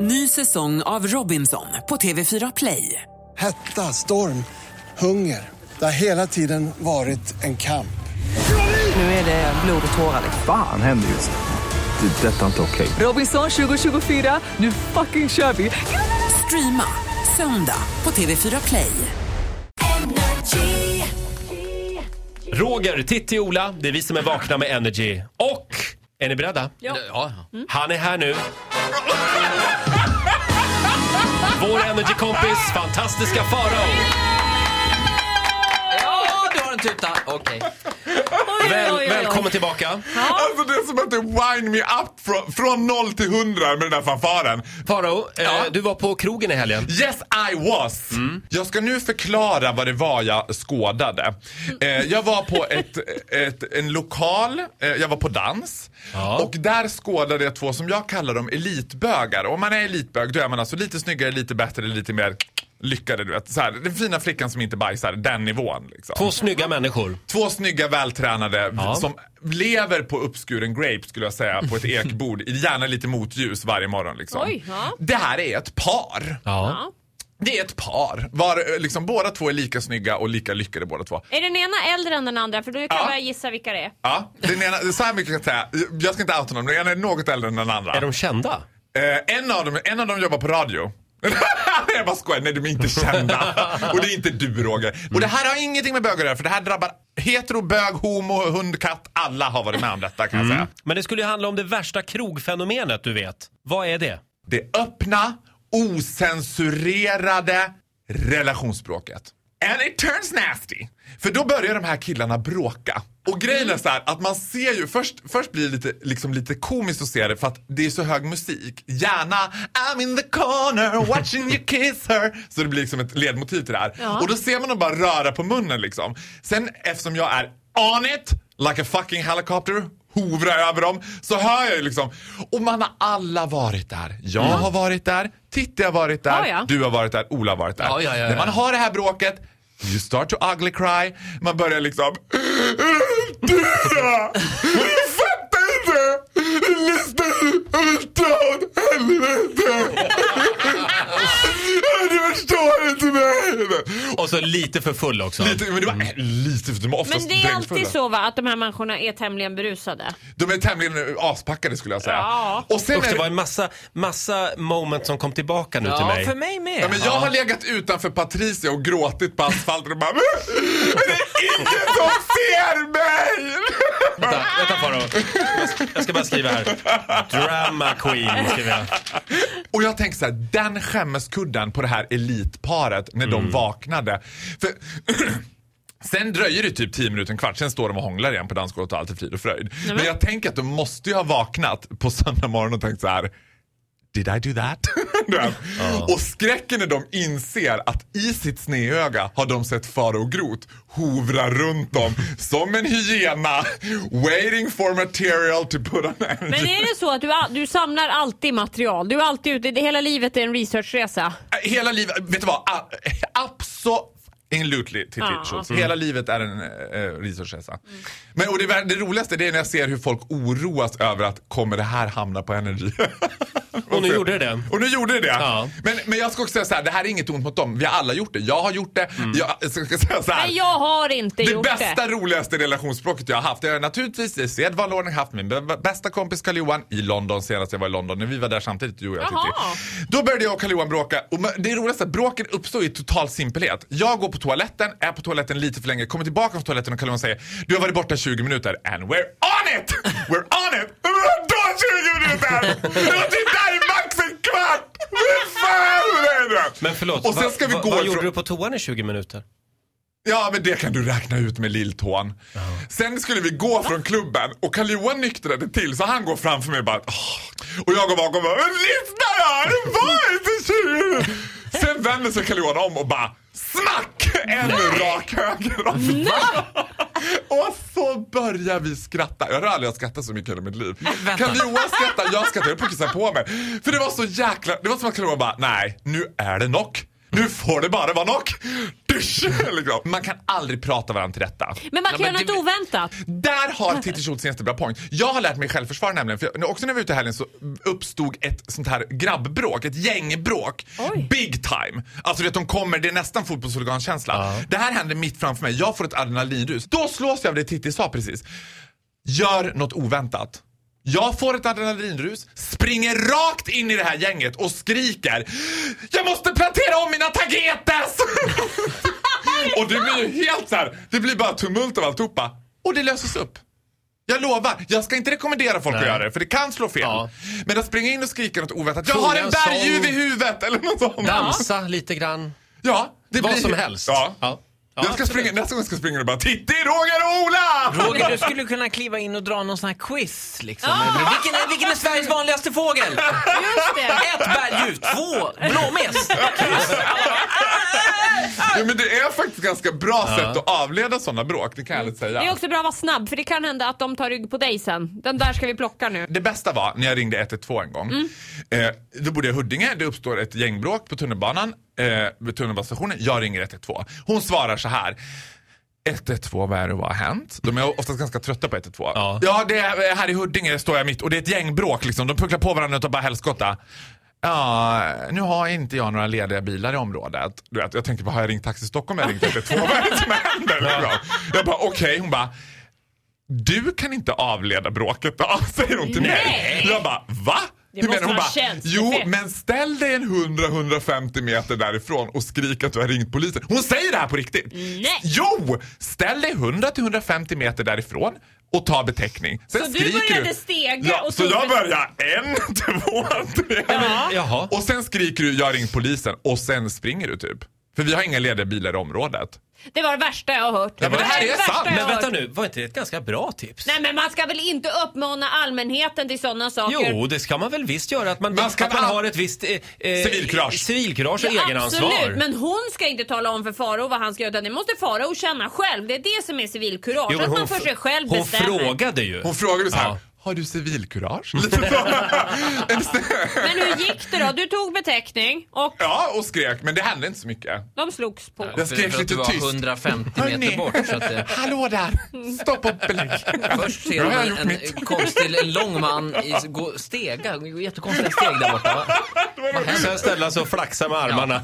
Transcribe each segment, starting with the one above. Ny säsong av Robinson på TV4 Play. Hetta, storm, hunger. Det har hela tiden varit en kamp. Nu är det blod och tårar. Fan händer just nu. Det. är Detta är inte okej. Robinson 2024, nu fucking kör vi! Streama söndag på TV4 Play. Roger, Titti, Ola, det är vi som är vakna med Energy. Och, är ni beredda? Ja. Han är här nu. Vår Energy-kompis, fantastiska Farao. Ja, du har en tuta. Okej. Väl, välkommen tillbaka. Alltså det är som att du wind me up från, från 0 till 100 med den där fanfaren. Farao, eh, Ja. du var på krogen i helgen. Yes I was! Jag ska nu förklara vad det var jag skådade. Eh, jag var på ett, ett, en lokal, eh, jag var på dans. Och där skådade jag två som jag kallar dem elitbögar. Och om man är elitbög då är man alltså lite snyggare, lite bättre, lite mer lyckade du vet. Så här, den fina flickan som inte bajsar, den nivån liksom. Två snygga människor. Två snygga, vältränade Ja. som lever på uppskuren grape skulle jag säga på ett ekbord. Gärna lite motljus varje morgon liksom. Oj, ja. Det här är ett par. Ja. Det är ett par. Var, eh, liksom, båda två är lika snygga och lika lyckade båda två. Är den ena äldre än den andra? För då kan jag Ja. börja gissa vilka det är. Ja, den ena, så här mycket kan jag säga. Jag ska inte outa någon, men den ena är något äldre än den andra. Är de kända? Eh, en, av dem, en av dem jobbar på radio. jag bara skojar, nej de är inte kända. Och det är inte du Roger. Mm. Och det här har ingenting med bögar att göra för det här drabbar hetero, bög, homo, hund, katt. Alla har varit med om detta kan jag säga. Men det skulle ju handla om det värsta krogfenomenet du vet. Vad är det? det öppna, osensurerade relationsspråket. And it turns nasty. För då börjar de här killarna bråka. Och grejen är så här att man ser ju, först, först blir det lite, liksom lite komiskt att se det för att det är så hög musik. Gärna I'm in the corner watching you kiss her. Så det blir liksom ett ledmotiv till det här. Och då ser man dem bara röra på munnen liksom. Sen eftersom jag är on it, like a fucking helicopter, hovra över dem så hör jag ju liksom. Och man har alla varit där. Jag har varit där, Titti har varit där, Ja, ja. du har varit där, Ola har varit där. Ja, ja, ja, När ja. man har det här bråket, you start to ugly cry. Man börjar liksom. Du då? Du fattar inte! Du lyssnar inte åt helvete! Du förstår inte mig! Och så lite för full också. Lite, men det var lite, för de var oftast Men det är alltid drängfulla. så va, att de här människorna är tämligen berusade. De är tämligen eh, aspackade skulle jag säga. Ja. Och sen Och det är var en massa, massa moment som kom tillbaka nu till Ja, mig. för mig med. Ja, men jag har legat utanför Patricia och gråtit på asfalten och bara Men det är ingen som ser mig! Vänta, vänta Farao. Jag ska- Jag ska bara skriva här. Drama queen skriver jag. Och jag tänker så här, den skämmeskudden på det här elitparet när de vaknade. För Sen dröjer det typ 10 minuter, en kvart, sen står de och hånglar igen på dansgolvet och allt är frid och fröjd. Men jag tänker att de måste ju ha vaknat på söndag morgon och tänkt så här. Did I do that? Du vet. Och skräcken när de inser att i sitt snedöga har de sett Farao Groth hovra runt dem som en hyena waiting for material to put on energy. Men är det så att du, all- du samlar alltid material? Du är alltid ute, det- hela livet är en researchresa. Hela livet, vet du vad? A- Absolutely, Titti Ja. Schultz. Hela livet är en eh, researchresa. Men och det, vär- det roligaste det är när jag ser hur folk oroas över att kommer det här hamna på Energy? Och nu gjorde det det. Och nu gjorde det det. Ja. Men, men jag ska också säga så här, det här är inget ont mot dem. Vi har alla gjort det. Jag har gjort det. Jag, jag ska säga så här. Men jag har inte Det gjort bästa, det. roligaste relationsspråket jag har haft, jag har naturligtvis i sedvanlig ordning haft min b- bästa kompis karl johan i London senast jag var i London, när vi var där samtidigt, du och jag Jaha. Titti. Då började jag och karl johan bråka och ma- det roligaste är att bråken uppstår i total simpelhet. Jag går på toaletten, är på toaletten lite för länge, kommer tillbaka från toaletten och karl johan säger du har varit borta 20 minuter and we're on it! We're on it! Vadå 20 minuter? Jag har typ där i max en kvart! Hur fan är det? Men förlåt, och sen vad- ska vi vad, gå vad ifrån- gjorde du på toan i 20 minuter? Ja, men det kan du räkna ut med lilltån. Sen skulle vi gå från klubben och karl johan nyktrade till så han går framför mig och bara "Åh." Och jag går bakom och bara "Men lyssna då! Det var inte 20 minuter." Sen vänder sig karl johan om och bara smack! En rak höger om Va? Och så börjar vi skratta. Jag har aldrig skrattat så mycket i hela mitt liv. Karl Johan skrattar, jag skrattar, jag puckar på mig. För det var så jäkla, det var som att Karl Johan bara, nej, nu är det nog. Nu får det bara vara nog. Dusch! Liksom. Man kan aldrig prata varandra till rätta. Men man kan Ja, göra men något det- oväntat. Där har Titti Schultz en jättebra poäng. Jag har lärt mig självförsvar nämligen. För jag, också när vi var ute i helgen så uppstod ett sånt här grabbbråk, ett gängbråk. Oj. Big time. Alltså du vet, de kommer, det är nästan fotbollshuligankänsla. Det här händer mitt framför mig, jag får ett adrenalinrus. Då slås jag av det Titti sa precis. Gör något oväntat. Jag får ett adrenalinrus, springer rakt in i det här gänget och skriker Jag måste plantera om mina tagetes! Och det blir ju helt så här, det blir bara tumult av alltihopa. Och det löses upp. Jag lovar, jag ska inte rekommendera folk att Nej. göra det för det kan slå fel. Ja. Men att springa in och skrika något oväntat. Jag Sjunga har en en berguv i sång. huvudet eller något sånt. Dansa lite grann. Ja, det Vad blir... som helst. Ja. Ja. Ja, jag ska absolut. springa, nästa gång ska jag springa och bara Titti, Roger och Ola! Roger, du skulle kunna kliva in och dra någon sån här quiz liksom. Vilken, är, vilken är Sveriges vanligaste fågel? Just det. Ett berguv, två blåmes. Ja, men det är faktiskt ganska bra sätt att avleda sådana bråk, det kan jag ärligt säga. Det är också bra att vara snabb för det kan hända att de tar rygg på dig sen. Den där ska vi plocka nu. Eh, Det bästa var när jag ringde 112 en gång. Eh, då bodde jag i Huddinge, det uppstår ett gängbråk på tunnelbanan, eh, vid tunnelbanestationen. Jag ringer 112. Hon svarar så här. 112, vad är det vad har hänt? De är oftast ganska trötta på 112. Ja. ja det är, här i Huddinge står jag mitt och det är ett gängbråk liksom. De pucklar på varandra och tar bara helskotta. Ja, nu har inte jag några lediga bilar i området. Du vet, jag tänker, bara, har jag ringt Taxi Stockholm eller ringt 112? Vad är det som händer? Liksom. Jag bara, okej. Hon bara, du kan inte avleda bråket då, säger hon till mig. Nej. Jag bara, va? Det Hur måste menar hon vara bara, tjänstefel. jo men ställ dig en 100-150 meter därifrån och skrik att du har ringt polisen. Hon säger det här på riktigt. Nej. Jo! Ställ dig 100-150 meter därifrån och ta beteckning. Sen Så du skriker började stega ja, och Så tog jag bet- börjar en, två, tre. Jaha. Och sen skriker du jag har ringt polisen och sen springer du typ. För vi har inga lediga bilar i området. Det var det värsta jag har hört. Ja, men det här är värsta sant. jag Men har Men vänta hört. nu, var inte det ett ganska bra tips? Nej men man ska väl inte uppmana allmänheten till sådana saker? Jo, det ska man väl visst göra. Att man, Man ska att man ha- har ett visst... Eh, eh, Civilkurage. Civilkurage och Ja, egenansvar. Absolut, men hon ska inte tala om för Faro vad han ska göra utan det måste Faro känna själv. Det är det som är civilkurage. Jo, men att man för fr- sig själv hon bestämmer. frågade ju. Hon frågade så här, Ja. har du civilkurage? Lite så. En st- Men hur gick det då? Du tog beteckning och ja, och skrek, men det hände inte så mycket. de slogs på. Jag skrek För att lite du var tyst. 150 meter Hörni. bort. Så att, eh, Hallå där! Stopp och belägg. först Nu ser har jag man gjort en, mitt. en konstig, en lång man i, gå, stega, jättekonstiga steg där borta. Va? Sen ställa sig och flaxa med armarna.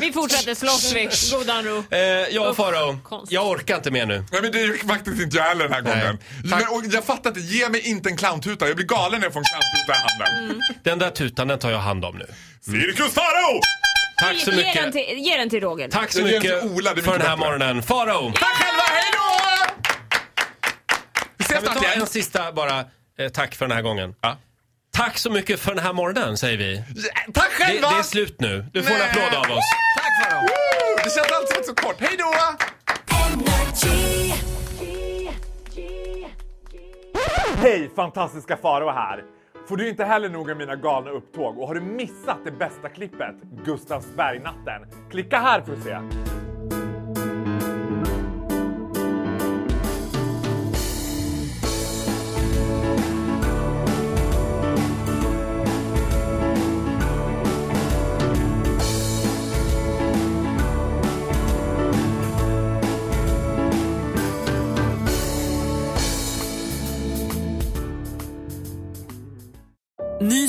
Vi fortsätter slåss vi. Godan ro. Eh, ja, Usch, Farao. konstigt. Jag orkar inte mer nu. Nej men det gick faktiskt inte jag heller den här gången. Men, och jag fattar inte, ge mig inte en clowntuta. Jag blir galen när jag får en clowntuta i handen. Den där tutan, den tar jag hand om nu. Cirkus Farao! Tack så Ge- Ge den mycket. till, ge den till Roger. Tack så Jag ger mycket den till Ola, det är för den här mycket bättre. morgonen. Farao! Tack själva, hejdå! Vi ses Kan vi snart ta igen. en sista bara eh, tack för den här gången? Ja. Tack så mycket för den här morgonen, säger vi. Tack Det, det själva! är slut nu. Du får en Nej. applåd av oss. Tack för dem. Woo! Det känns alltid som så kort. Hejdå! Hej, fantastiska Faro här! Får du inte heller nog av mina galna upptåg och har du missat det bästa klippet, Gustavsbergnatten? Klicka här för att se! Ny